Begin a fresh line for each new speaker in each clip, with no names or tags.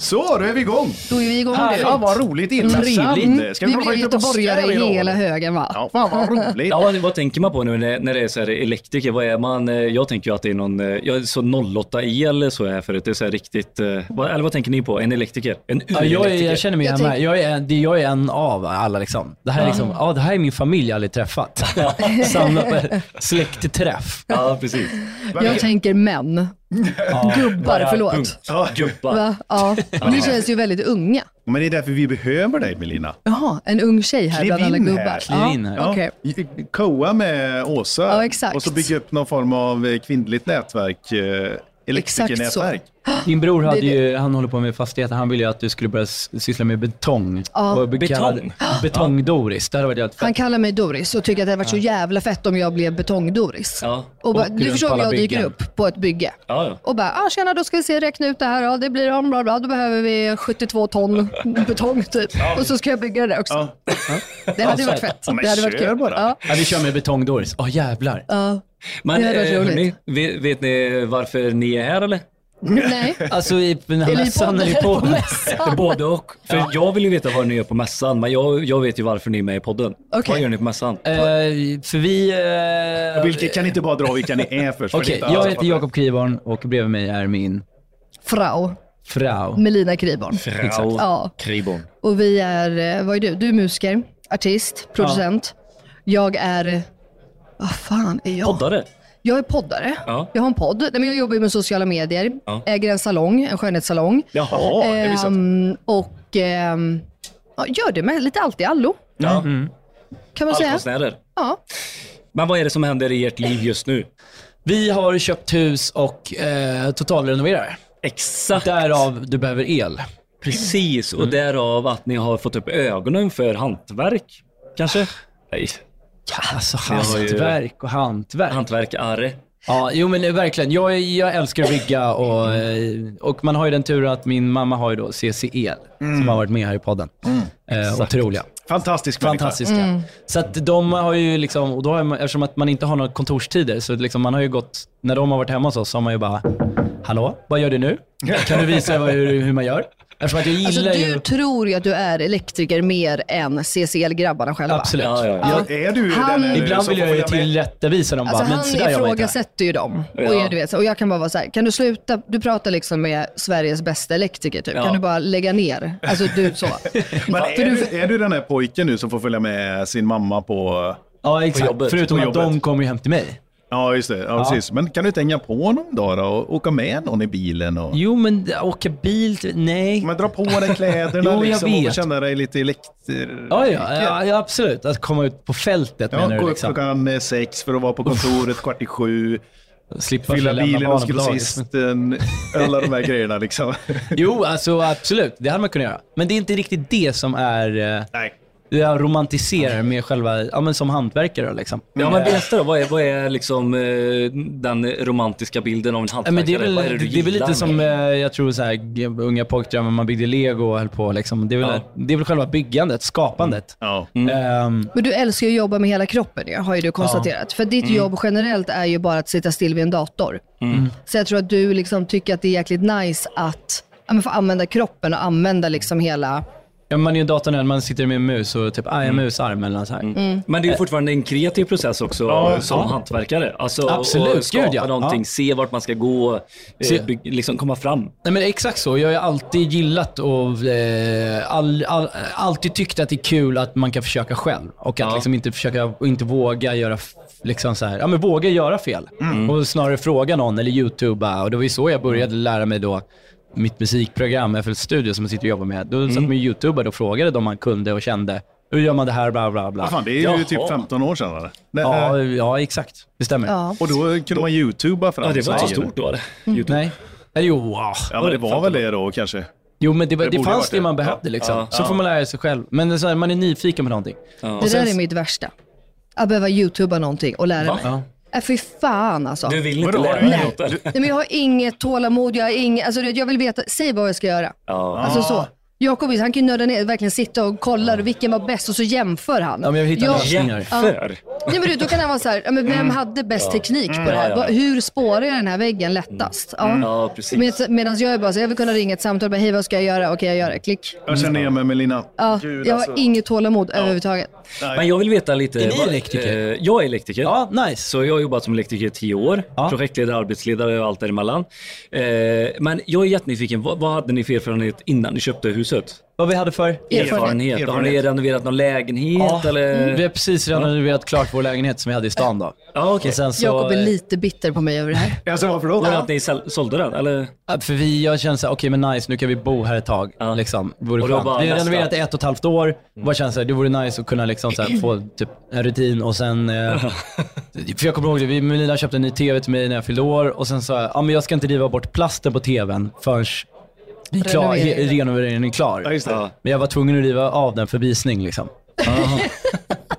Så, då är vi igång!
Då är vi igång nu.
Ja, vad roligt intressant!
Mm.
Ska vi prata
blir
lite
göteborgare
Oscar idag?
i hela högen va?
Ja, fan vad roligt!
Ja, vad tänker man på nu när, när det är så här elektriker? Vad är man? Eh, Jag tänker ju att det är någon, eh, ja, så 08 el så är jag förut. Det är så här riktigt, eh, vad, eller vad tänker ni på? En elektriker? En
Ja, jag, är,
urelektriker?
jag känner mig
Jag
jag
tänk-
med. Jag är, en- det- jag är en av alla liksom. Det här är, liksom, ja, det här är min familj jag aldrig träffat. Samlat på en släktträff.
Ja, precis.
Jag tänker män.
Ja.
Gubbar,
Bara
förlåt.
punkt. Ja, gubbar.
Va? Ja. Ni känns ju väldigt unga.
Men det är därför vi behöver dig Melina.
Jaha, en ung tjej här
Kliv
bland alla
in här.
gubbar.
Kliv
Ja,
in här.
Ja,
okej.
i- Koa med Åsa
Ja, exakt.
och så bygga upp någon form av eh, kvinnligt nätverk, eh, elektrikernätverk.
Exakt
Din bror hade
Det är
ju, han håller på med fastigheter, han ville ju att du skulle börja s- syssla med betong.
Ja.
Och bli
Betong?
kallad Betong-Doris. Det hade varit jävligt
Han
fett.
kallar mig Doris och tycker att det hade varit så jävla fett om jag blev betong-Doris.
Ja.
Och bara,
Och
du
runt
förstår
på
om
alla
jag dyker
byggen.
upp på ett bygge.
Ja, ja.
Och bara, ah, tjena då ska vi se, räkna ut det här, ja, det blir om, bla, bla, då behöver vi 72 ton betong typ. Och så ska jag bygga det där också.
Ja.
Det hade ju varit fett.
Ja, men
Det hade varit
kör
kul.
bara.
Ja.
Ja, vi kör med Betong-Doris. Åh jävlar.
Ja.
Men
Det hade varit
eh,
roligt.
hörni, vet, vet ni varför ni är här eller?
Nej.
Alltså, i, den här
Eller i
mässan är ju
podden eller
på.
på mässan.
Både och. För jag vill ju veta vad ni gör på mässan, men jag, jag vet ju varför ni är med i podden.
Okej.
Vad gör ni på mässan?
Eh, för vi... eh,
Vilka kan inte bara dra vilka ni är först? för
Okej,
det är inte alla
jag
som
heter
fattar.
Jakob Kriborn och bredvid mig är min
Frau,
frau.
Melina Kriborn.
Frau
Ja.
Kribon.
Och vi är, eh, vad är du? Du är musiker, artist, producent. Jag är, vad fan är jag?
Poddare.
Jag är poddare.
Ja.
Jag har en podd. Nej, men jag jobbar ju med sociala medier.
Ja.
Äger en salong, en skönhetssalong.
Jaha, det visste jag inte.
Ehm, och ehm, ja, gör det med lite allt i allo,
Ja.
kan man säga.
Konstnärer.
Ja.
Men vad är det som händer i ert liv just nu?
Vi har köpt hus och eh, totalrenoverar.
Exakt.
Därav du behöver el.
Precis,
Mm.
och därav att ni har fått upp ögonen för hantverk, kanske? Nej.
Ja, alltså
har ju-
hantverk och hantverk.
Hantverkare.
Ja, jo men eh, verkligen. Jag, jag älskar att bygga och, eh, och man har ju den turen att min mamma har ju då CCE som har varit med här i podden. Eh, otroliga.
Fantastisk människa.
Fantastiska. Så att de har ju liksom, och då har man, eftersom att man inte har några kontorstider, så liksom man har ju gått, när de har varit hemma hos oss så har man ju bara, hallå, vad gör du nu? Kan du visa vad, hur, hur man gör? Eftersom att jag
Alltså,
gillar
du
ju...
tror ju att du är elektriker mer än CCL-grabbarna själva.
Absolut.
Ja, ja, ja.
Ja, är du
Han-
den, eller
Ibland
så
vill
får
jag ju
följa med?
tillrättavisa dem
Alltså
bara, men sådär
han
gör man inte. här."
ifrågasätter ju dem. Och,
Ja.
är, du vet, och jag kan bara vara så här, kan du sluta, du pratar liksom med Sveriges bästa elektriker typ.
Ja.
Kan du bara lägga ner? Alltså du så.
Men
För
är,
du-
du, är du den här pojken nu som får följa med sin mamma på...
Ja, exakt.
jobbet.
Förutom
På
att de
jobbet.
kommer ju hem till mig.
Ja, just det. Ja, Precis. Men kan du inte hänga på någon dag då och åka med någon i bilen? Och...
Jo, men åka bil, till- nej.
Men dra på dig kläderna
Jo, jag
liksom, och
vet.
känna dig lite elektriker.
Ja, ja, ja, ja, absolut. Att komma ut på fältet
Ja,
menar
gå
du
upp
liksom.
klockan eh, sex för att vara på kontoret kvart i sju,
Slippa
fylla
lämna
bilen hos
barnen på dagis.
grossisten, alla de här grejerna liksom.
Jo, alltså absolut. Det hade man kunnat göra. Men det är inte riktigt det som är... eh,
Nej.
Det jag romantiserar med själva, ja men som hantverkare liksom.
Ja, men berätta då, vad är, vad är liksom eh, den romantiska bilden av en
Ja,
hantverkare?
men det, är väl,
vad
det,
du
är väl
gillar
lite
med?
som eh, jag tror så här, g- unga pojkdrömmar, man byggde lego och höll på. Liksom. Det, är väl,
Ja.
det är väl själva byggandet, skapandet.
Ja.
Ehm,
Men du älskar ju att jobba med hela kroppen ju, har ju du konstaterat. För ditt jobb generellt är ju bara att sitta still vid en dator. Så jag tror att du liksom tycker att det är jäkligt nice att ja, men få använda kroppen och använda liksom hela...
ja, man är ju en datornörd, man sitter med en mus och typ, ah, en
Mm.
musarm eller så här.
Men det är ju fortfarande en kreativ process också
Ja,
som
Eh. ja.
hantverkare. Alltså,
Absolut,
och skapa
gud, ja.
någonting,
Ja.
se vart man ska gå, eh,
Se-
byg, liksom komma fram.
Nej, men exakt så. Jag har ju alltid gillat och eh, all, all, alltid tyckt att det är kul att man kan försöka själv. Och att
Ja.
liksom inte försöka och inte våga göra f- liksom så här, ja, men våga göra fel.
Mm.
Och snarare fråga någon eller youtuba. Och det var ju så jag började lära mig då mitt musikprogram, FL Studio, som jag sitter och jobbar med. Då
Mm.
satt man ju youtubade och frågade dem man kunde och kände. Hur gör man det här? Bla, bla, bla.
Vad fan, det är ju
Jaha.
typ 15 år sedan. eller? Nej, eh,
ja, ja, exakt. Det stämmer.
Ja. Mm.
Och då kunde man youtuba fram.
Ja, det var inte så
grejer.
stort då. det.
Nej. Eller Jo, ah.
Ja, men det var väl det då kanske.
Jo, men det, var-
Det
det,
borde ha varit
fanns
det.
det man behövde.
Ja.
Liksom.
Ja.
Så får man lära sig själv. Men så här, man är nyfiken på någonting.
Ja.
Det
sen-
där är mitt värsta. Att behöva youtuba någonting och lära
Va?
mig.
Ja.
Äh, fy fan alltså.
Du vill inte
Vadå, har
lära
du
dig
gjort
något? eller?
Nej, men jag har inget tålamod, jag, har inget, alltså, du vet, jag vill veta, säg bara vad jag ska göra.
Ja.
Alltså så. Jakob han kan ju nörda ner, verkligen sitta och kolla och vilken var bäst och så jämför han.
Ja, men jag vill hitta
Ja.
lösning. Jävlar.
Jämför!
Nej, men du, då kan han vara så här, ja, men vem hade bäst teknik på det här?
Mm. Ja, ja, ja.
Va- Hur spårar jag den här väggen lättast? Ja.
Ja, precis.
Med, Medan jag är bara så jag vill kunna ringa ett samtal och bara, hej vad ska jag göra? Okej, jag gör det. Klick.
Jag känner igen mig med Lina.
Ja, jag
alltså.
har inget tålamod överhuvudtaget.
Men jag vill veta lite...
Är ni
vad-
elektriker?
eh, Jag är elektriker.
Ja, nice.
Så jag har jobbat som elektriker i tio år.
Ja.
Projektledare, arbetsledare och allt däremellan. Eh, men jag är jättenyfiken. Vad, vad hade ni för erfarenhet innan ni köpte huset?
Vad vi hade för?
Har ni
Erfarenhet.
renoverat någon lägenhet? Eller?
Mm. Vi har precis renoverat klart vår lägenhet som vi hade i stan då.
Ja, okej.
Och sen så,
Jakob är lite bitter på mig över det här.
Alltså varför då?
Nej, men att ni säl- sålde den? Eller?
Ja, För vi, jag kände såhär, okej men nice, nu kan vi bo här ett tag.
Ja.
Liksom. Det vore
Och då
skönt.
bara
Vi har
nästa.
renoverat i ett och ett halvt år. Bara kände såhär, det vore nice att kunna liksom såhär, få typ, en rutin och sen... Eh, för jag kommer ihåg det, vi, Melina köpte en ny TV till mig när jag fyllde år och sen sa jag, ja men jag ska inte riva bort plasten på TVn förrän vi är klar,
Renoveringen.
he- renoveringen är klar.
Ja, just det.
Ja,
Men jag var tvungen att riva av den för visning liksom.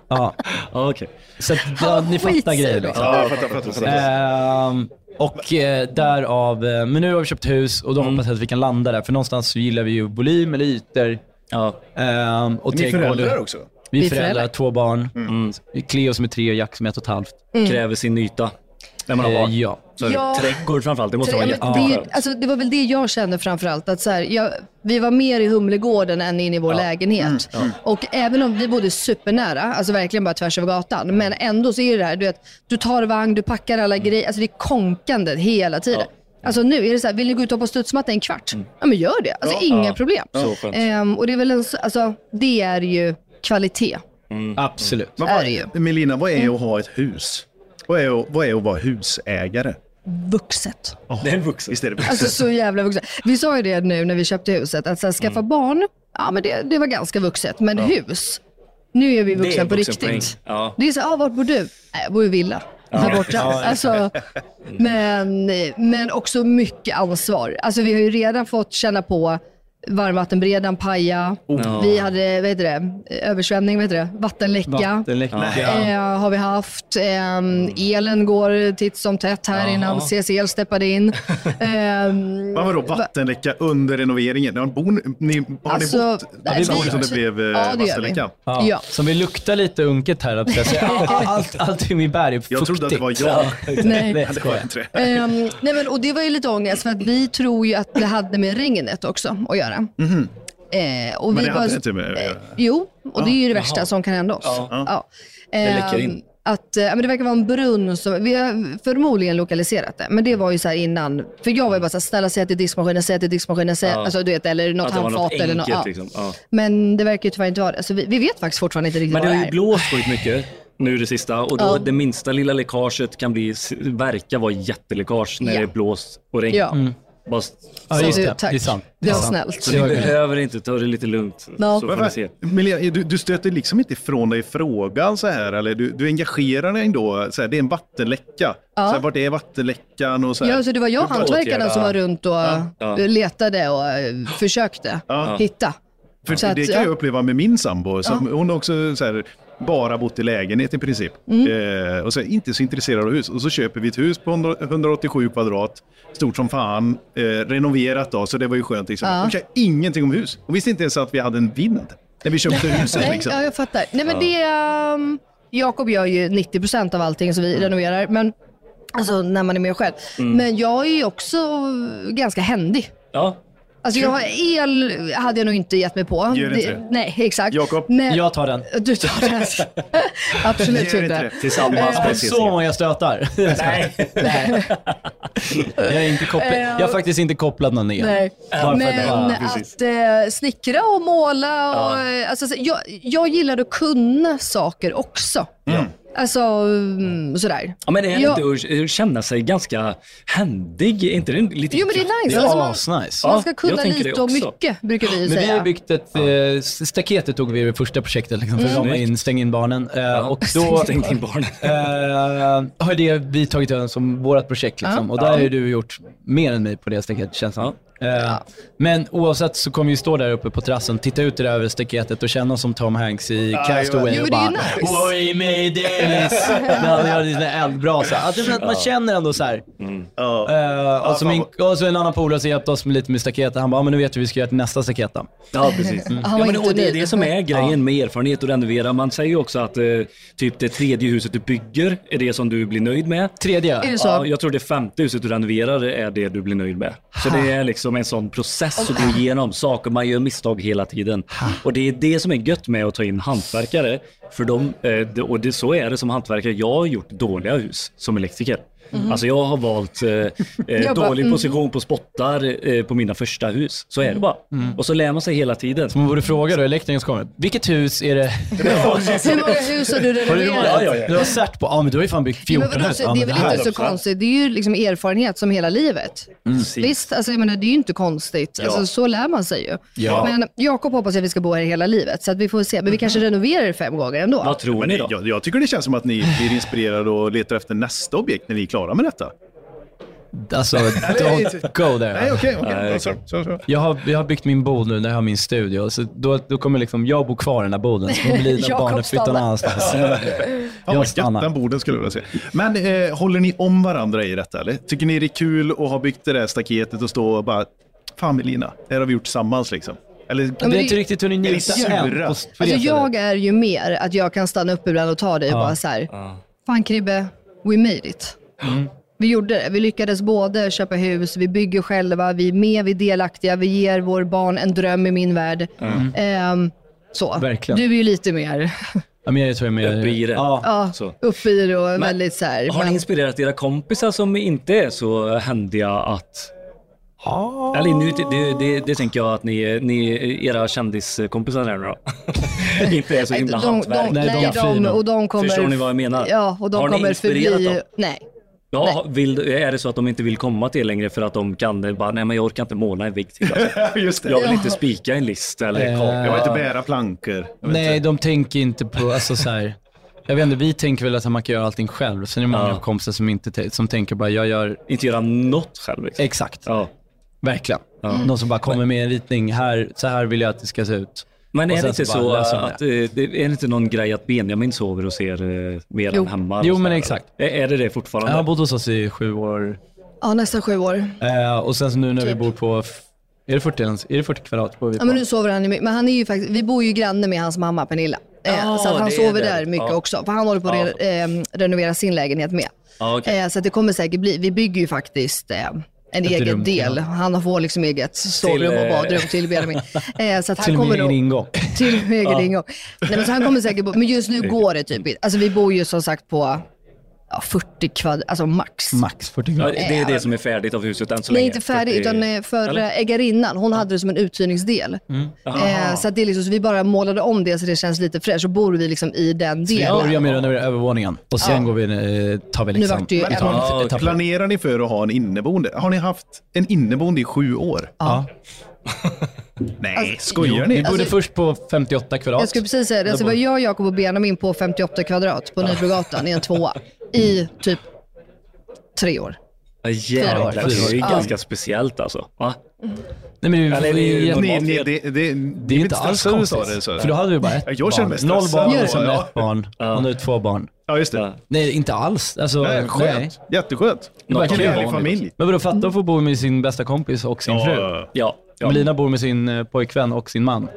ja.
ja okej.
Så att, ja, ni
skitsur
fattar grejen
då.
liksom.
Ja, jag fattar, jag fattar, jag fattar.
Ehm, och eh, därav, eh, men nu har vi köpt hus och då hoppas jag att vi kan landa där. För någonstans så gillar vi ju volym eller ytor.
Ja.
Ehm, och
Ni är
trädgård.
föräldrar Mm. också?
Vi
Vi
är
är
föräldrar,
föräldrar.
två barn. Cleo som är tre och Jack som är ett och ett halvt.
Mm. Kräver sin yta. När man har
Eh,
barn.
ja.
Så är det
Mm. Ja.
Trädgård framförallt. Det måste vara
Ja, men det, är ju-
jätteskönt.
alltså, det var väl det jag kände framförallt. Att så här, jag, vi var mer i Humlegården än inne i vår lägenhet.
Mm.
Och även om vi bodde supernära, alltså verkligen bara tvärs över gatan, men ändå så är det här, du vet, du tar vagn, du packar alla
Mm.
grejer, alltså det är konkande hela tiden. Alltså nu är det så här, vill ni gå ut och hoppa studsmatta en kvart? Ja men gör det, alltså inga
Mm. Ja.
problem.
Så skönt.
Ehm, och det är väl en, så- alltså, det är ju kvalitet.
Absolut.
Vad
är det ju. Mm.
Melina, vad är att ha ett hus? Vad är att, vad är att vara husägare?
Vuxet.
Det är en vuxen.
Visst är det
Alltså så jävla vuxet. Vi sa ju det nu när vi köpte huset, att så här, skaffa
Mm.
barn, ja men det, det var ganska vuxet. Men hus, nu är vi
är
vuxna på
vuxenpoäng.
riktigt.
Ja.
Det är så, ah, vart bor du? Äh, jag bor i villa. Här borta. Alltså,
Mm.
men, men också mycket ansvar. Alltså, vi har ju redan fått känna på varmvattenbredan paja.
Ja.
Vi hade vad heter det? översvämning, vad heter det? vattenläcka.
Vattenläcka.
Eh, har vi haft.
Mm.
Ehm, elen går titt som tätt här innan CCL steppade in. Ehm,
Men vadå vattenläcka under renoveringen? Har, bor, ni, har
Alltså,
ni bott?
nej,
det
vi-
var så det blev eh,
Ja, det gör vi.
vattenläcka.
Ja.
Ja.
Som vi luktar lite unket här. höll jag på att säga. Allt, allting vi bär är fuktigt.
Jag trodde att det var jag.
Nej.
Nej,
Det
jag
var
skojar.
inte det.
Ehm, nej men, och det var ju lite ångest för att vi tror ju att det hade med regnet också att göra. Eh, och
Men
vi
det
bara-
hade inte med att göra.
Jo, och det är ju det värsta som kan hända oss. Ja. Ehm,
läcker in.
Att, eh, men det verkar vara en brunn som, vi har förmodligen lokaliserat det, men det var ju så här innan. För jag var ju bara så här, snälla säg till diskmaskinen, säg till diskmaskinen, säg,
Ja.
alltså, du vet, eller något
Att det var
handfat
något
eller något.
enkelt
Ja.
liksom. Ja.
Men det verkar ju tyvärr inte vara det. Så vi, vi vet faktiskt fortfarande inte riktigt
Men det
vad
har
det
ju
är.
blåst sjukt mycket nu det sista och då
Ja.
det minsta lilla läckaget kan bli, verka vara jätteläckage när
Ja.
det är blåst och regn.
Ja.
Bara, så
Ja, just
Så du,
det.
tack.
Det är sant.
Det var
sant.
snällt.
Det
ni
var grymt.
behöver inte ta det lite lugnt.
Ja.
Så
Men
får ni
vad-
se.
Melina, du, du stöter liksom inte ifrån dig frågan så här, eller du, du engagerar dig ändå. Så här, det är en vattenläcka. Så här, vart är vattenläckan? Och så här.
Ja, så det var jag och
Du bara
hantverkaren
åtgärda.
som var runt och
ja.
letade och eh, försökte
Ja.
hitta.
För
Så att,
det kan
ja.
jag uppleva med min sambo. Som, Hon har också så här, bara bott i lägenhet i princip.
Mm.
Eh, och så är inte så intresserad av hus. Och så köper vi ett hus på 100 187 kvadrat, stort som fan, eh, renoverat då, så det var ju skönt. Liksom.
Ja.
Hon kan ingenting om hus. Hon visste inte ens att vi hade en vind när vi köpte huset.
Nej,
Liksom.
ja, jag fattar. Nej, men det, ehm, Jakob gör ju 90% av allting som
Mm.
vi renoverar, men, alltså när man är med själv. Men jag är ju också ganska händig.
Ja.
Alltså jag har el hade jag nog inte gett mig på.
Gör inte det.
Nej, exakt.
Jakob?
Men,
Jag tar den.
Du tar den. Absolut
Gör inte
inte.
det.
Tillsammans.
Eh,
Jag har fått så många stötar. Nej. jag, är inte kopplad. jag har faktiskt inte kopplat någon ner.
Eh, Nej.
Bara för att
Men
vara-
att eh, snickra och måla och... eh, Alltså, så- jag, jag gillar att kunna saker också. Alltså mm, sådär.
Ja, men är det
Ja.
inte att- att känna sig ganska händig? Är inte det lite
Jo men det är
kraftigt?
nice.
Det är
Alltså, man,
asnice.
Ja,
man ska kunna
jag tänker det
lite och
också.
mycket brukar vi ju
Men vi har
säga.
ju byggt ett, eh, staketet tog vi i det första projektet liksom, för
Mm.
att rama in, stänga in barnen. Eh, och då
Stäng in barnen.
eh, har det vi tagit över som vårt projekt liksom. Och där har ju du gjort mer än mig på det staketet känns det som. Eh, men oavsett så kommer vi stå där uppe på terrassen, titta ut i det där över staketet och känna oss som Tom Hanks i Castaway
Jo,
och
men det är
bara
ju nice.
Oj, mayday! Precis. När han gör en sån här eldbrasa. Alltså, för att man känner ändå så här.
Mm.
Ja.
Eh, och, så
fan
min, och så en annan polare som hjälpte oss med lite med staketen. Han bara, "Ja, men nu vet vi hur vi ska göra till nästa staket då.
Ja, precis.
Mm. Han var
ja, men,
inte
och det är
nöjd.
det som är grejen med erfarenhet och renovera. Man säger ju också att eh, typ det tredje huset du bygger är det som du blir nöjd med.
Är
Tredje.
det så?
Ja, jag tror det femte huset du renoverar är det du blir nöjd med. Så det är liksom en sån process att gå igenom. Saker, man gör misstag hela tiden. Och det är det som är gött med att ta in hantverkare. För de, eh, det- och det, så är det som hantverkare. Jag har gjort dåliga hus som elektriker. Alltså jag har valt eh, eh,
Mhm. Jag bara,
dålig
mm.
position på spottar eh, på mina första hus. Så är det bara.
Mm.
Och så lär man sig hela tiden.
Man borde fråga då elektrikern som kommer. Vilket hus är det?
Hur många hus har du
Har du,
renoverat?
ja, ja, ja. du har cert på? Ja, men du har ju fan byggt
Ja, men
14
vadå,
hus. Ja,
så det är
men det Mm. här-
väl inte så konstigt. Det är ju liksom erfarenhet som hela livet. Visst, alltså, jag menar, det är ju inte konstigt. Alltså, så lär man sig ju.
Ja.
Men Jakob hoppas att vi ska bo här hela livet, så att vi får se. Men vi kanske renoverar det fem gånger ändå.
Vad tror
Men
ni
det,
då?
jag, jag tycker det känns som att ni blir inspirerade och letar efter nästa objekt när ni är klara med detta.
Alltså, don't go there.
Nej, okej. okej.
Nej,
Så- så- så.
Jag har, jag har byggt min bod nu där jag har min studio. Så då, då kommer liksom jag bo kvar i den här boden. Så kommer Lina och
Jakob
barnen flytta någon
stannar.
annanstans.
Fan vad gött,
Jag
den
stannar.
borden skulle jag vilja se. Men eh, håller ni om varandra i detta eller? Tycker ni det är kul att ha byggt det där staketet och stå och bara, fan Melina, det här har vi gjort tillsammans liksom? Eller,
Det är
det-
inte riktigt hur ni
ni
njuter än.
sura?
på- på det
Alltså
sättet.
jag är ju mer att jag kan stanna upp ibland och ta dig och bara så här, fan Kribbe, we made it.
Mm.
Vi gjorde det. Vi lyckades både köpa hus, vi bygger själva, vi är med, vi är delaktiga, vi ger vår barn en dröm i min värld. Ehm, så.
Verkligen.
Du är ju lite mer
Ja, men jag tror jag är mer...
Uppe i det.
Ja.
ja,
Så.
uppe i det och väldigt så här.
Har ni
men-
inspirerat era kompisar som inte är så händiga att...
Ah.
Eller nu, det, det, det tänker jag att ni, ni era kändiskompisar där nu då. inte är så himla
de, de,
hantverk.
Nej, de
nej,
flyr
de,
nog.
och de kommer,
Förstår ni vad jag menar?
Ja, och de
Har ni
kommer
inspirerat
förbli...
dem?
Nej.
Ja, vill, är det så att de inte vill komma till er längre för att de kan det? Bara, nej, men jag orkar inte måla en vägg till. Alltså.
just det.
Jag
Jag,
vill inte spika en list eller
Eh,
kabel.
vill inte bära plankor. Jag vet
Nej,
inte.
de tänker inte på... Alltså, så här, jag vet inte, vi tänker väl att man kan göra allting själv. Sen är det många
Ja.
kompisar som, inte, tän- som tänker bara, jag gör
Inte göra något själv. Liksom.
exakt.
Ja.
Verkligen. Mm. Någon som bara kommer med en ritning. Här, så här vill jag att det ska se ut.
Men
Och
är det
sen
inte
bara
så
löser man det.
att, eh, det, är det inte någon grej att Benjamin sover och ser eh, mer
Jo.
än hemma?
Jo,
och så
men
där?
exakt.
Är, är det det fortfarande?
Han har bott hos oss i sju år.
Ja, nästan sju år.
Eh, och sen så nu när vi bor på... f- Är det 40, ens? är det 40 kvadrat? Bor vi på?
Typ. Ja, men nu sover han ju mycket. Men han är ju faktiskt, vi bor ju granne med hans mamma Pernilla. Eh,
Ja,
så att han
det är
sover
det.
där mycket
Ja.
också. För han håller på att re- ehm, renovera sin lägenhet med.
Ja, okej.
Eh, så att det kommer säkert bli, vi bygger ju faktiskt eh, en egen
rum till
del. Han får liksom eget sovrum och
eh,
badrum till Benjamin. Eh, så att
Till
han
och med
kommer
egen
nog...
ingång.
Till med egen ingång. Nej, men så han kommer säkert bo, men just nu går det typ inte. Alltså vi bor ju som sagt på ja, 40 kvadrat, alltså max.
Max 40
Ja,
kvadrat.
det är det som är färdigt av huset än så
Nej,
länge.
inte färdig,
40
utan eh, förra ägarinnan, hon hade det som en uthyrningsdel. Eh, så, att det är liksom, så vi bara målade om det så det känns lite fräscht. Så bor vi liksom i den
Vi
delen.
börjar med den över övervåningen och sen
Ja.
går vi, eh, tar vi
Nu
liksom...
vart det ju
vi
en-
tar
Ja,
etappen.
Planerar ni för att ha en inneboende? Har ni haft en inneboende i sju år?
Ja.
Nej,
Alltså,
skojar ni?
Vi bodde
Alltså-
först på 58 kvadrat.
Jag skulle precis säga det. Så var jag, Jakob och Benjamin på 58 kvadrat på Nybrogatan i en tvåa i typ tre år.
Ja, jävlar.
Fyra år.
Det är ju
Ja.
ganska speciellt alltså. Va?
Nej, men det,
Eller
är
det är ju-
jätte-
Alltså, Ni, ni, det, det, det
det är inte alls konstigt.
Så.
För då hade vi bara ett
Jag
barn.
känner mig
Noll
stressad.
barn
Gör det?
och sen
Ja.
ett barn.
Ja.
Och nu två barn.
Ja, just det.
Ja.
Nej, inte alls. Alltså,
Nej,
nej.
skönt. Jätteskönt.
Det var
Något
kul.
Härlig familj.
Men vadå, fatta att få bo med sin bästa kompis och sin fru.
Ja. ja.
Melina bor med sin eh, pojkvän och sin man.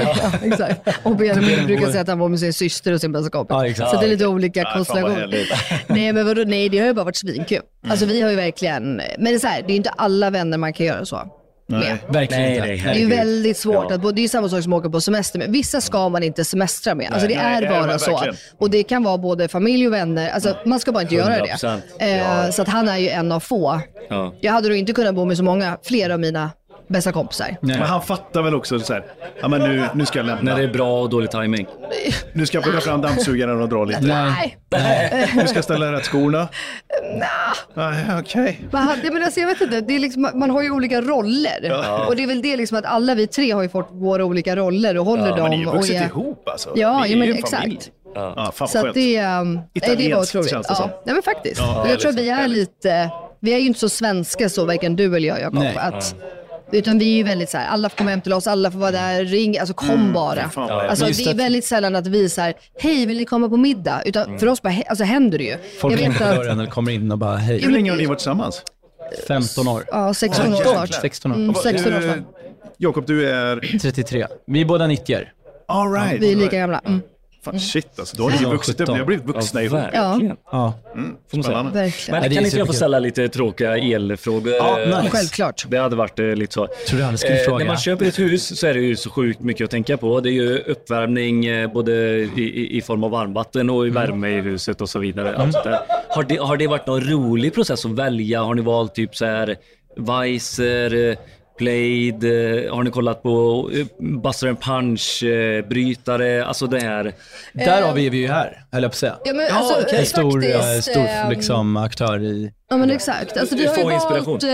Ja, exakt. Och Benjamin brukar säga att han var med sin syster och sin bästa kompis.
Ja, exakt.
Så det är lite olika
Ja, fan vad
konstellationer.
härligt.
Nej, men vadå? Nej, det har ju bara varit svinkul. Alltså vi har ju verkligen, men det är så här, det är ju inte alla vänner man kan göra så. med.
Verkligen
Nej,
inte.
nej,
Det är ju
Herregud.
väldigt svårt
Ja.
att bo. Det är ju samma sak som att åka på semester med. Vissa ska man inte semestra med. Alltså det
Nej,
är
nej,
bara
men
så.
verkligen.
Och det kan vara både familj och vänner. Alltså man ska bara inte göra det.
100%.
Eh,
Ja.
Så att han är ju en av få.
Ja.
Jag hade nog inte kunnat bo med så många, fler av mina bästa kompisar.
Men han fattar väl också så här, ja men nu, nu ska jag lämna.
När det är bra och dålig timing.
Nu ska jag plocka fram dammsugaren och dra lite.
Nej.
Nu ska jag ställa rätt skorna. Nej, okej.
Man hade, men alltså, jag vet inte, det är liksom, man har ju olika roller. Och det är väl det liksom att alla vi tre har ju fått våra olika roller och håller
Men
dem.
ni har ju vuxit
och är-
ihop alltså.
Ja,
Ni
ja,
är
men
ju en familj.
exakt.
Ja, fan vad
Så att
skönt.
det, ehm, nej, det var
Italienskt
otroligt.
känns det som.
ja. Nej, men faktiskt.
Ja, liksom
jag tror att
härligt.
vi är
Härligt.
lite, vi är ju inte så svenska så, varken du eller jag Jakob.
Nej.
Att Utan vi är ju väldigt så här, alla får komma hem till oss, alla får vara där, ring, alltså kom bara.
Mm, fan vad
Alltså,
Men just
det är
att-
väldigt sällan att vi så här, hej vill ni komma på middag? Utan
Mm.
för oss bara, "Hej", alltså händer det ju.
Folk
jag
ringer
vet
på
att,
dörren eller kommer in och bara
Hur
hej.
länge har ni varit tillsammans?
15 år.
ja, 16 år
Oj,
snart.
jäklar.
16 år.
Mm, 16 år
Eh,
snart.
Jakob, du är...
33. Vi är båda 90
All right.
Vi är lika gamla. Mm,
Fan, shit alltså, då har ni
Ja,
vuxit upp.
17.
Ni har blivit vuxna ihop.
Alltså, Verkligen.
Ja.
Får man säga.
Spännande.
verkligen.
Men
Ja, det är
kan inte jag få
superkul.
ställa lite tråkiga elfrågor?
Ja, nice.
Självklart.
Det hade varit eh, lite så.
Tror du aldrig skulle fråga?
Eh, När man köper ett hus så är det ju så sjukt mycket att tänka på. Det är ju uppvärmning eh, både i, i, i form av varmvatten och i
Mm.
värme i huset och så vidare. Allt det. Har, det, har det varit någon rolig process att välja? Har ni valt typ så här Weiser, eh, Plaid, eh, har ni kollat på eh, Buster and Punch, eh, brytare, alltså det här.
Därav är vi ju här, höll jag på att säga.
Eh, Ja, men alltså,
En stor, eh,
faktiskt,
stor
ehm,
liksom, aktör i...
Ja men exakt. Alltså, vi har
Få
ju
inspiration.
valt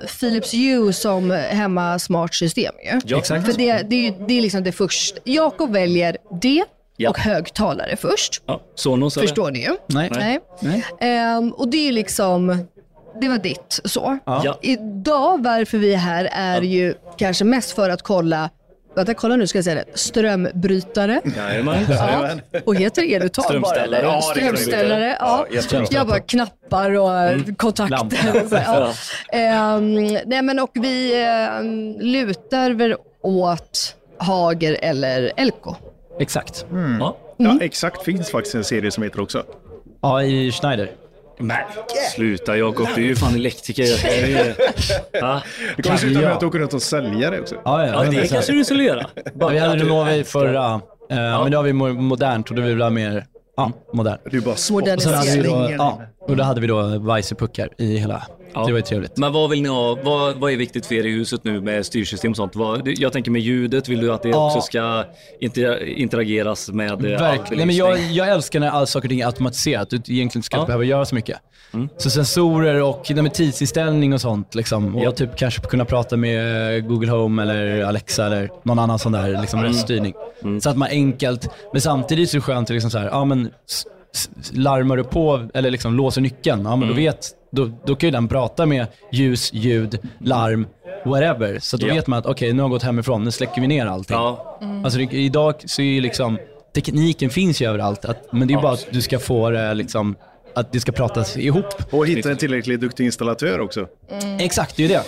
eh, Philips Hue som hemma smart system ju.
Ja. Exakt.
För det, det, är ju, det är liksom det första. Jakob väljer det
Ja.
och högtalare först.
Ja, Sonos eller?
Förstår ni ju.
Nej.
Nej.
Nej.
Ehm, och det är ju liksom, det var ditt så.
Ja.
Idag varför vi är här är ju kanske mest för att kolla, vänta kolla nu ska jag säga det, strömbrytare.
Jajamän.
Ja. Och heter det uttagbar?
Strömställare.
eller?
Ja, det är
Strömställare. Ja,
jättebra.
jag bara knappar och
Mm.
kontakter.
Lampor.
Och så, ja. Ehm, nej, men och vi ehm, lutar väl åt Hager eller Elko.
Exakt.
Mm.
Ja.
Ja, exakt finns faktiskt en serie som heter också.
Ja, i Schneider.
Nej, sluta Jakob. Du är ju fan elektriker. Det är ju- Ja.
Det kommer sluta
Ja.
med att du åker runt och säljer det också.
Ja, ja,
Ja, det
100%.
kanske du skulle göra.
Ja, vi hade Renovi förra, eh, men då har vi mo- modernt och då vill vi ha mer ja, modernt.
Du bara spottar
Och sen hade vi då,
slingor.
ja, och då hade vi då Weise-puckar i hela.
Ja.
Det var ju trevligt.
Men vad vill ni ha? Vad, vad är viktigt för er i huset nu med styrsystem och sånt? Vad, jag tänker med ljudet, vill du att det
Ja.
också ska inter, interageras med eh,
Verkligen. Nej, men jag, jag älskar när all saker och ting är automatiserat. Du egentligen inte ska
Ja. Mm.
behöva göra så mycket. Så sensorer och nej, men tidsinställning och sånt. Liksom. Och
Ja.
typ kanske kunna prata med eh, Google Home eller Alexa eller någon annan sån där liksom,
Mm.
röststyrning. Så att man enkelt, men samtidigt så är det skönt att liksom så här, ja, men, s- s- larmar du på eller liksom låser nyckeln, ja, men
Mm.
då vet då, då kan ju den prata med ljus, ljud, larm, whatever. Så då
Ja.
vet man att okej, nu har jag gått hemifrån, nu släcker vi ner allting.
Ja,
Alltså det, idag så är ju liksom, tekniken finns ju överallt, att, men det är bara att du ska få det liksom, att det ska pratas ihop.
Och hitta en tillräckligt duktig installatör också.
Exakt, det är ju det.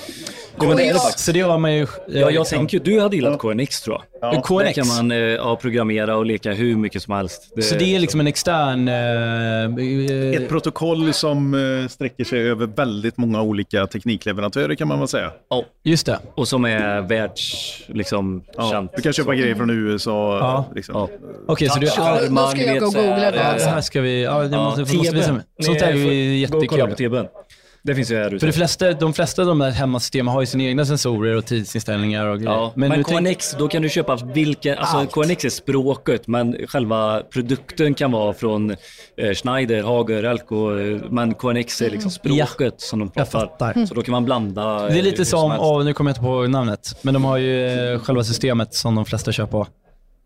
men det är det
Och jag-
faktiskt.
så det har man ju... eh,
ja, jag
liksom-
tänker du hade gillat KNX tror jag.
Ja.
Där
KNX.
kan man eh, ja, programmera och leka hur mycket som helst.
Så det är liksom en extern... eh,
Ett protokoll som eh, sträcker sig över väldigt många olika teknikleverantörer kan man väl säga.
Ja,
just det.
och som är världs... Liksom,
Ja,
känt.
du kan köpa grejer från USA.
Ja.
Liksom.
Okej, så du... Ja,
Armar,
Då ska jag
ni vet,
gå och googla
så här,
det
eh,
det här ska vi... Ja, det måste, måste
TB:n.
visa mig. Sånt där är ju
Ni får- Gå och kolla på
jättekul.
TBn. Det finns ju här ute.
För de flesta, de flesta av de där hemmasystemen har ju sina egna sensorer och tidsinställningar och grejer.
Ja, men
du Eh, tänk-
KNX, då kan du köpa vilken... Alltså KNX är språket, men själva produkten kan vara från eh, Schneider, Hager, Elko. eh, Men KNX är liksom språket som de
Mm. Jag
pratar.
fattar.
Så då kan man blanda... eh,
Det är
hur
lite som,
helst.
åh, nu kommer jag inte på namnet, men de har ju eh, själva systemet som de flesta kör på.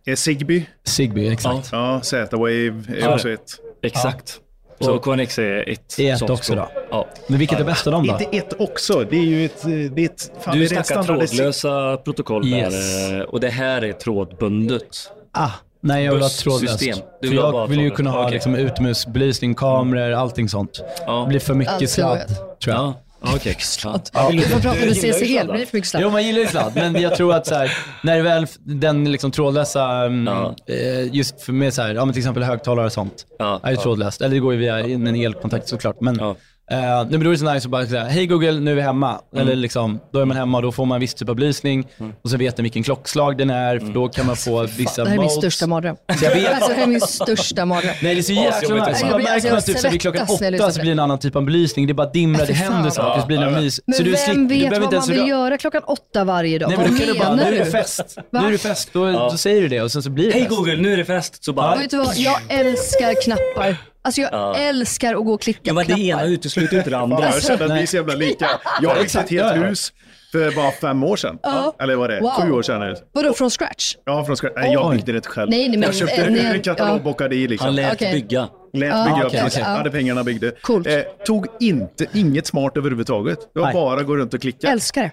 Eh, Zigbee,
Zigbee, exakt.
ja, Z-Wave är
Ja.
också ett.
Exakt. Så KNX är ett,
Är ett
sånt
också
språk.
då.
Ja.
Men vilket är bäst av dem då?
Inte ett också, det är ju ett... eh, Det är ett fan,
Du
det är ett
snackar
standardis-
trådlösa protokoll
Yes.
där eh, och det här är trådbundet.
Ah, nej, jag vill ha trådlöst.
Bussystem. Du
För
vill ha bara
jag vill ju
trådlöst.
kunna ha
Okej.
liksom, utomhusbelysning, kameror, allting sånt.
Ja.
Det blir för mycket
Allt
sladd,
jag
tror jag.
Ja, okej. Ja.
Vi får prata med
gillar ju
CCL,
sladdar.
men det är för mycket sladd.
Jo, man gillar ju sladd, men jag tror att så här, när väl den liksom trådlösa, mm,
Ja.
eh, just för med så här, ja, men till exempel högtalare och sånt,
Ja.
är ju trådlöst. Eller det går ju via en en elkontakt såklart. Men,
Ja.
eh, nej, men då är det så nice att bara säga, hej Google, nu är vi hemma.
Mm.
Eller liksom, då är man hemma och då får man en viss typ av belysning och så vet den vilken klockslag den är,
Mm.
för då kan man få vissa
Alltså, Det här är min
modes.
största mardröm.
Så jag vet-
Alltså, det här är min största mardröm.
Nej det är så jäkla nice.
Jag
Man
blir- alltså,
märker
jag
att typ så här vid klockan
svettas när jag lyssnar
åtta så
på
blir det en annan typ av belysning. Det bara dimrar, det
fy fan.
händer saker, så blir det någon mys.
Men
så du
vem
slipper-
vet
du behöver
vad
inte
man
ens
vill göra klockan åtta varje dag?
Nej men
vad
då kan du bara, nu
menar
är det
du?
fest. Nu är det fest. Då,
Ja.
då säger du det och sen så blir det
Hej
fest.
Google, nu är det fest. Så bara...
Och Vet du vad? Jag älskar knappar. Alltså jag älskar att gå och klicka
Ja, men det ena
knappar.
utesluter inte det
Fan,
andra.
jag känner att vi är så jävla lika. Jag har byggt ett
Exakt,
helt
ja, ja.
hus för bara fem år sedan.
Ja.
Eller vad det är,
Wow.
sju år sedan. är det.
Vadå, från scratch?
Ja, från Scratch. Nej, jag
Oj.
byggde det inte själv.
Nej, nej, men-
jag köpte
eh, nej,
en katalog
ja.
och bockade i liksom.
Han lät
Okej.
bygga.
Lät
Ja,
bygga upp
okej,
det.
okej.
hade pengarna byggde. Eh,
Coolt.
tog inte, inget smart överhuvudtaget. Det var
Nej.
bara gå runt och klicka.
Älskar det.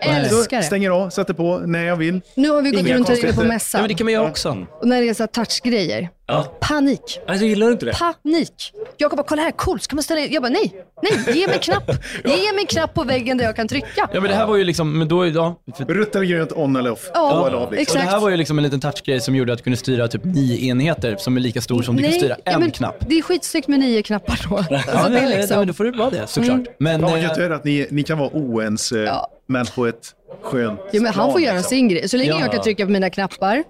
Älskar det.
Stänger av, sätter på när jag vill.
Nu har vi gått
Inga
runt och ringt på
konstigheter.
Ja,
mässan.
men det kan man göra också.
Och när det är så här touchgrejer.
Ja.
Panik.
Alltså, gillar du inte det?
Panik. Jag bara, kolla här, coolt, ska man ställa in? Jag bara, nej, nej, ge mig en knapp. Ge mig en knapp på väggen där jag kan trycka.
Ja, men det här var ju liksom, men då, ja, för,
Rött eller grönt, on eller off.
Ja,
På eller av,
exakt.
och det här var ju liksom en liten touchgrej som gjorde att du kunde styra typ nio enheter som är lika stor som du kan styra en
ja, men
knapp.
Det är skitsnyggt med nio knappar då.
Ja,
Alltså, det
nej,
är
nej, nej, men
liksom, Mm.
då får det vara det såklart. Men,
Fan vad
eh,
gött det är att ni, ni kan vara oense, men på ett skönt
ja, men han
plan,
får göra
liksom.
sin grej. Så länge
Ja. Mm.
jag kan trycka på mina knappar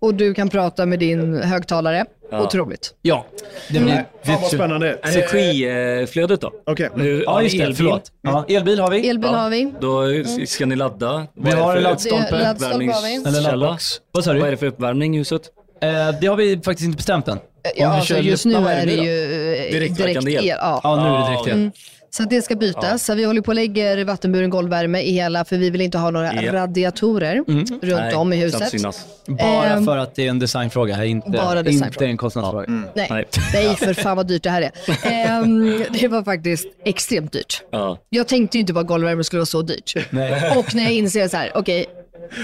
och du kan prata med din högtalare. Otroligt.
ja, det blir...
Mm.
Nej, Fan vad spännande.
Energiflödet då?
Okej.
Nu-
Ja, just det.
elbil.
Förlåt. Ja,
Mm.
elbil har vi.
Elbil har vi.
Då ska ni ladda.
Vi har en
Det är
laddstolpe.
laddstolpe har vi.
Eller
Källa.
laddbox. Vad sa
Vad är
du?
det för uppvärmning i huset?
Eh, det har vi faktiskt inte bestämt än.
Ja,
Om vi
alltså,
kör
just nu
luftna, vad
är det
då?
ju eh,
Direktverkande
direkt
el.
el. Ja.
Ja, nu är det direkt el.
Så att det ska bytas. Så vi håller på och lägger vattenburen golvvärme i hela, för vi vill inte ha några
Ja.
radiatorer
Mm.
runt
Nej,
om i
knappt
huset.
synas.
Bara
Ehm,
för att det är en designfråga, här, inte,
bara
inte
designfråga.
en kostnadsfråga.
Nej.
Nej.
Nej. för fan vad dyrt det här är. Ehm, det var faktiskt extremt dyrt.
Ja.
Jag tänkte ju inte på att golvvärme skulle vara så dyrt.
Nej.
Och när jag inser så här, okej,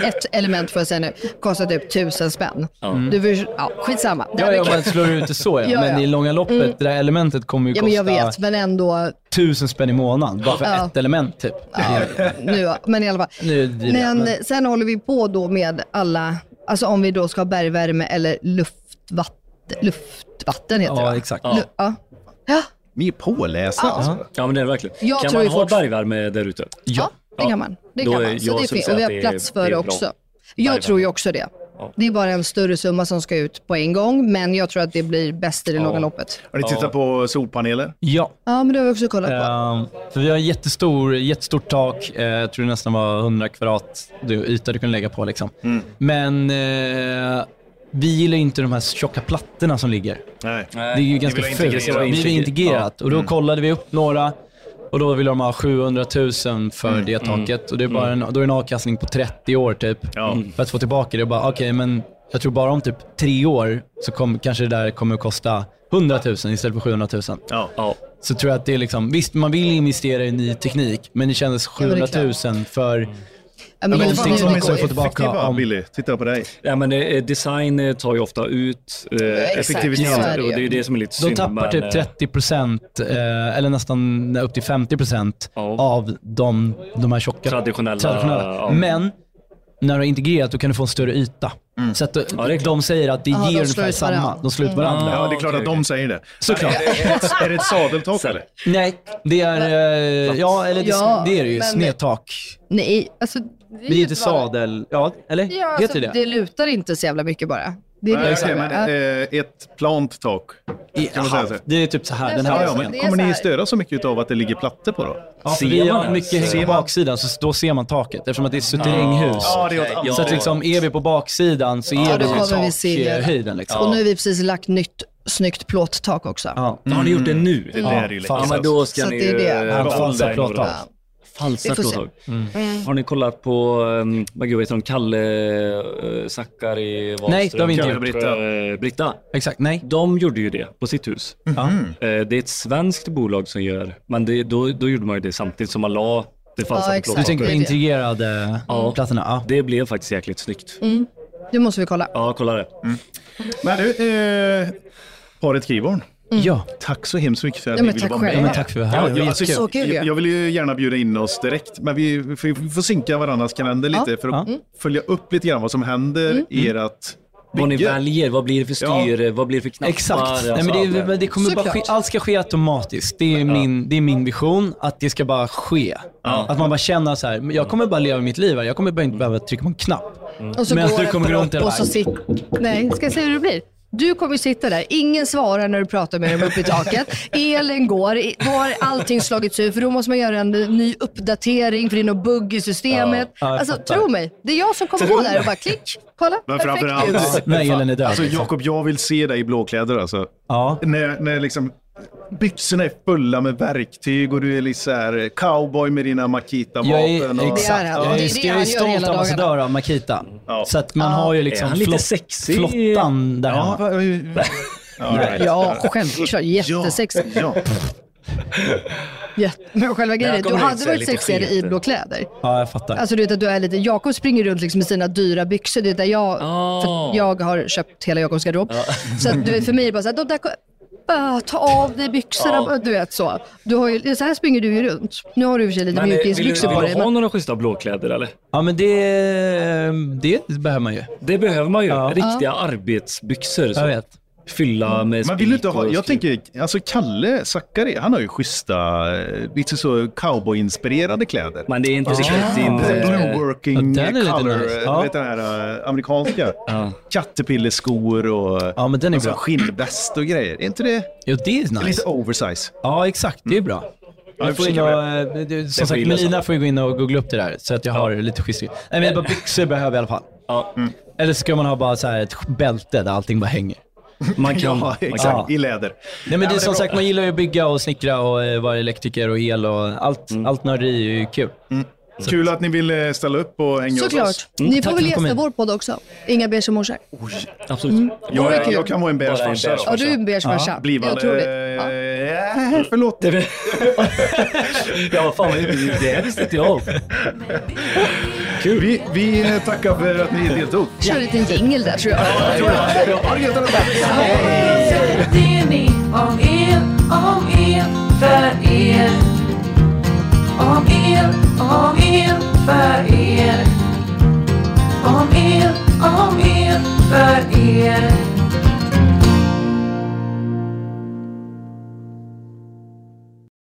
ett element får jag säga nu, kostar typ tusen spänn. Mm. Du får, ja, skitsamma. Det
Ja,
hade
ja,
kunnat-
man slår ut det så ja.
Ja,
Men
ja. Mm.
i långa loppet, det där elementet kommer ju
ja,
kosta
men jag vet, men ändå.
tusen spänn i månaden bara för
Ja.
ett element typ. Ja.
Nu, men i alla fall.
Nu är det dyrare,
Men
men-
sen håller vi på då med alla, alltså om vi då ska ha bergvärme eller luftvatten, luftvatten heter det
Ja,
va?
exakt.
Lu- Ja. ja,
Ni är pålästa. alltså.
ja, men det är det verkligen.
Jag
kan
tror
man
ju
ha
fort-
bergvärme där ute?
Ja, det
Ja.
kan man. Det
Då
kan
är
man.
jag
Så det
som
finns,
säger
och vi
att det
har
är-
plats
det
för
är
det
bra.
också.
Varje
Jag tror ju
gång.
också det.
Ja.
Det är bara en större summa som ska ut på en gång, men jag tror att det blir bäst i det långa loppet.
Har ni tittat på solpaneler?
Ja.
Ja, men det har vi också kollat på.
Ehm, för vi har en jättestor, jättestort tak. Eh, jag tror det nästan var 100 kvadrat du, yta du kunde lägga på. Liksom.
Mm.
Men eh, vi gillar ju inte de här tjocka plattorna som ligger.
Nej.
Det är ju ganska
vill
fult.
integrera.
Vi vill integrerat. Och då
Mm.
kollade vi upp några och då ville de ha 700 000 för
Mm.
det taket. Och det är bara en, då är det en avkastning på 30 år typ.
Ja.
Mm. För att få tillbaka det och bara, okej men jag tror bara om typ tre år så kom, kanske det där kommer att kosta 100 000 istället för 700 000.
Ja.
Ja.
Så tror jag att det är liksom, visst man vill investera i ny teknik, men det kändes
men det
700
är
000 för...
Mm.
Ja, men
men
just
någonting
nu,
som
det
är så
går ju.
få tillbaka
Effektiva,
om-
Billy. Titta på dig.
Ja, men, eh, design eh, tar ju ofta ut eh,
exakt.
effektivitet
Ja.
och det är ju det som är lite
De
synd.
tappar
men,
typ
eh,
30% eh, eller nästan upp till 50%
Ja.
av de, de här tjocka
Traditionella,
traditionella.
ja.
Men när du har integrerat då kan du få en större yta. Så att eh,
det är klart. Mm.
de säger att det
Mm. de
ger
slår
ungefär
ut
samma.
varandra.
De slår ut varandra.
Ja, det är klart
okej,
att de
okej.
säger det.
Såklart.
Är det ett, är det ett sadeltak eller?
Nej, det är... Eh, ja, eller det,
Ja,
det är det ju.
men-
Snedtak.
Nej, alltså.
Det är inte
ett val.
sadel... Ja, eller?
Ja,
Heter
alltså,
det
det lutar inte så jävla mycket bara. Det
Nej,
är det
okej,
som är-
men eh, ett plant tak.
I,
man säga så?
det är typ så här. Den här
Ja,
Ja,
ja,
vägen.
men
det är
kommer
så
ni
här.
störa så mycket av att det ligger plattor på då?
Ja, för
Ser
vi har
man
mycket
ens?
häng på baksidan, så då ser man taket eftersom att det är suterränghus.
Ja, det är åt andra
så att liksom, är vi på baksidan så är
då
det
kommer vi se det.
takhöjden. Liksom.
Och nu har vi precis lagt nytt snyggt plåttak också.
Ja. Mm.
Har ni gjort det nu?
Det där är ju
Ja,
läckert.
men då ska
Så
ni
det är det.
eh,
Han
vara
falsar
online och
plåttak.
bra. Falsar
Vi får se. Mm.
plåttak. Har ni kollat på, um, vad gud heter hon, Kalle eh, Zackari Wahlström?
Nej, det har vi inte
Kalle
gjort.
Britta. eh, Britta.
Exakt, nej.
De gjorde ju det på sitt hus. Eh, Det är ett svenskt bolag som gör, men det, då, då gjorde man ju det samtidigt som man la det falsar
Ja,
ja,
exakt.
Du
Ja,
tänker på
det är det.
integrerade
Ja.
plattorna? Ja.
Det blev faktiskt jäkligt snyggt.
Mm. Det måste vi kolla.
Ja, kolla det.
Men du, eh, paret Kriborn.
ja.
Tack så hemskt mycket för att ni
Mm. Ja, men
ville
tack
vara
själv.
med.
Ja, men tack för det här.
Ja,
Det var
jag, alltså,
jättekul.
Så kul ju.
jag, jag vill ju gärna bjuda in oss direkt, men vi, vi, får- vi får synka varandras kalender lite för att
Mm.
följa upp lite grann vad som händer
Mm.
i ert
Vad ni
bygge.
väljer, vad blir det för styr, vad blir det för knappar?
Exakt.
alltså
Nej, men det,
allt det.
men det kommer bara ske,
Såklart.
allt ska ske automatiskt. Det är, min, det är min vision, att det ska bara ske. Att man bara känner så här, men jag kommer bara leva mitt liv här. Jag kommer bara inte behöva trycka på en knapp.
Mm.
Och så
Medan
går
du
en
kommer
propp
runt hela
och så sitter... Nej, ska jag säga hur det blir? Du kommer sitta där, ingen svarar när du pratar med dem uppe i taket. Elen går, I- då har allting slagits ut för då måste man göra en ny uppdatering för det är någon bugg i systemet.
Ja, jag
alltså
fattar.
tro mig, det är jag som kommer gå där och bara klick, kolla,
Men
perfekt
framförallt-
ljus.
När elen är död.
Alltså
liksom.
Jakob, jag vill se dig i blåkläder alltså.
ja.
När, när liksom byxorna är fulla med verktyg och du är lite så här eh, cowboy med dina
Jag är,
Makita-vapen. Och...
Det är
exakt.
han.
Jag är,
Det är det
jag är
han gör hela
stolt
dagarna.
ambassadör av Makita.
Ja.
Så att man har ju liksom
Är han lite
flott-
sexig?
flottan där
Ja,
hemma.
va- ja, right.
Ja, självklart.
Ja,
Jättesexigt.
ja.
Jätte- Men själva grejen är,
Där
du
kommer det
hade
ut så här
varit
lite
sexigare i
skit.
blå kläder.
Ja, jag fattar.
Alltså du vet att du är lite, Jakob springer runt liksom i sina dyra byxor, det är där jag,
Ah.
för att jag har köpt hela Jakobs garderob. Så att, du vet, för mig är det bara så här, de där, ko- Ah, ta av dig byxorna, du vet så. Du har ju, så här springer du ju runt. Nu har du i och för sig lite
Men, eh, vill, du, vill
mjukisbyxor på dig.
du ha
Men,
några schyssta blåkläder eller?
Ja, men det, det behöver man ju.
Det behöver man ju.
Ja.
Riktiga arbetsbyxor.
Jag
som
vet.
Fylla med
Man vill ju inte
spik
ha,
och
jag
skruv.
tänker, alltså Kalle Zackari, han har ju schyssta, eh, lite så cowboy-inspirerade kläder.
Men det är inte riktigt din...
Blue
eh,
working
Ja, den är lite
color,
nice.
eh,
Ja.
vet den här eh, amerikanska.
Ja.
Kattepilleskor och
Ja, men den är
och så
bra.
skinnväst och grejer. Är inte det
Jo, det är nice.
lite oversize?
Ja, exakt. Det är bra.
vi
Jag får
får
in
kika
och,
på
eh, det- som
får
sagt,
gilla
Melina
sånt.
får ju gå in och googla upp det där, så att jag har lite schysst. Nej, men jag bara byxor behöver jag i alla fall.
Ja.
Eller ska man ha bara så här ett bälte där allting bara hänger?
Man kan...
Ja, exakt.
Ja.
I läder.
Nej, men det är
det är
som
bra.
sagt, man gillar ju att bygga och snickra och eh, vara elektriker och el och allt, allt nörderi är ju kul.
Kul att ni ville ställa upp och hänga hos oss.
såklart. Ni får väl
tack för att du kom
gästa
in.
vår podd också. Inga beige morsor.
Absolut.
Jag,
Vore kul.
jag, kan vara en beige
Bara en
farsa.
beige
då.
Ja, du är en beige farsa. Det är
Blivande...
otroligt.
Eh,
Ja.
eh, förlåt.
Det är- ja, vad fan, det det visste inte jag om.
Vi, vi eh, tackar för att ni deltog.
Kör lite en jingel där tror jag.
Ha det gött allihopa.
säger ni om er, om er, för er. Om er, om er, för er. Om er, om er, för er.